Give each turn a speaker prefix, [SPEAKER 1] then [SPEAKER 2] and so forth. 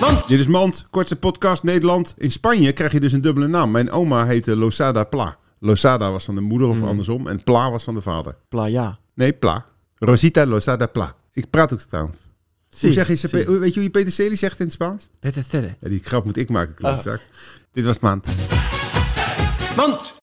[SPEAKER 1] Want
[SPEAKER 2] Dit is Mand, kortste podcast Nederland. In Spanje krijg je dus een dubbele naam. Mijn oma heette Losada Pla. Losada was van de moeder of andersom en Pla was van de vader.
[SPEAKER 1] Playa.
[SPEAKER 2] Nee, Pla. Rosita Losada Pla. Ik praat ook Spaans. Hoe zeg je, ze-
[SPEAKER 1] Sí.
[SPEAKER 2] weet je hoe je Peter Celi zegt in het Spaans?
[SPEAKER 1] Dit is dit, hè.
[SPEAKER 2] Ja, die grap moet ik maken, klootzak. Dit was Maand.
[SPEAKER 1] Want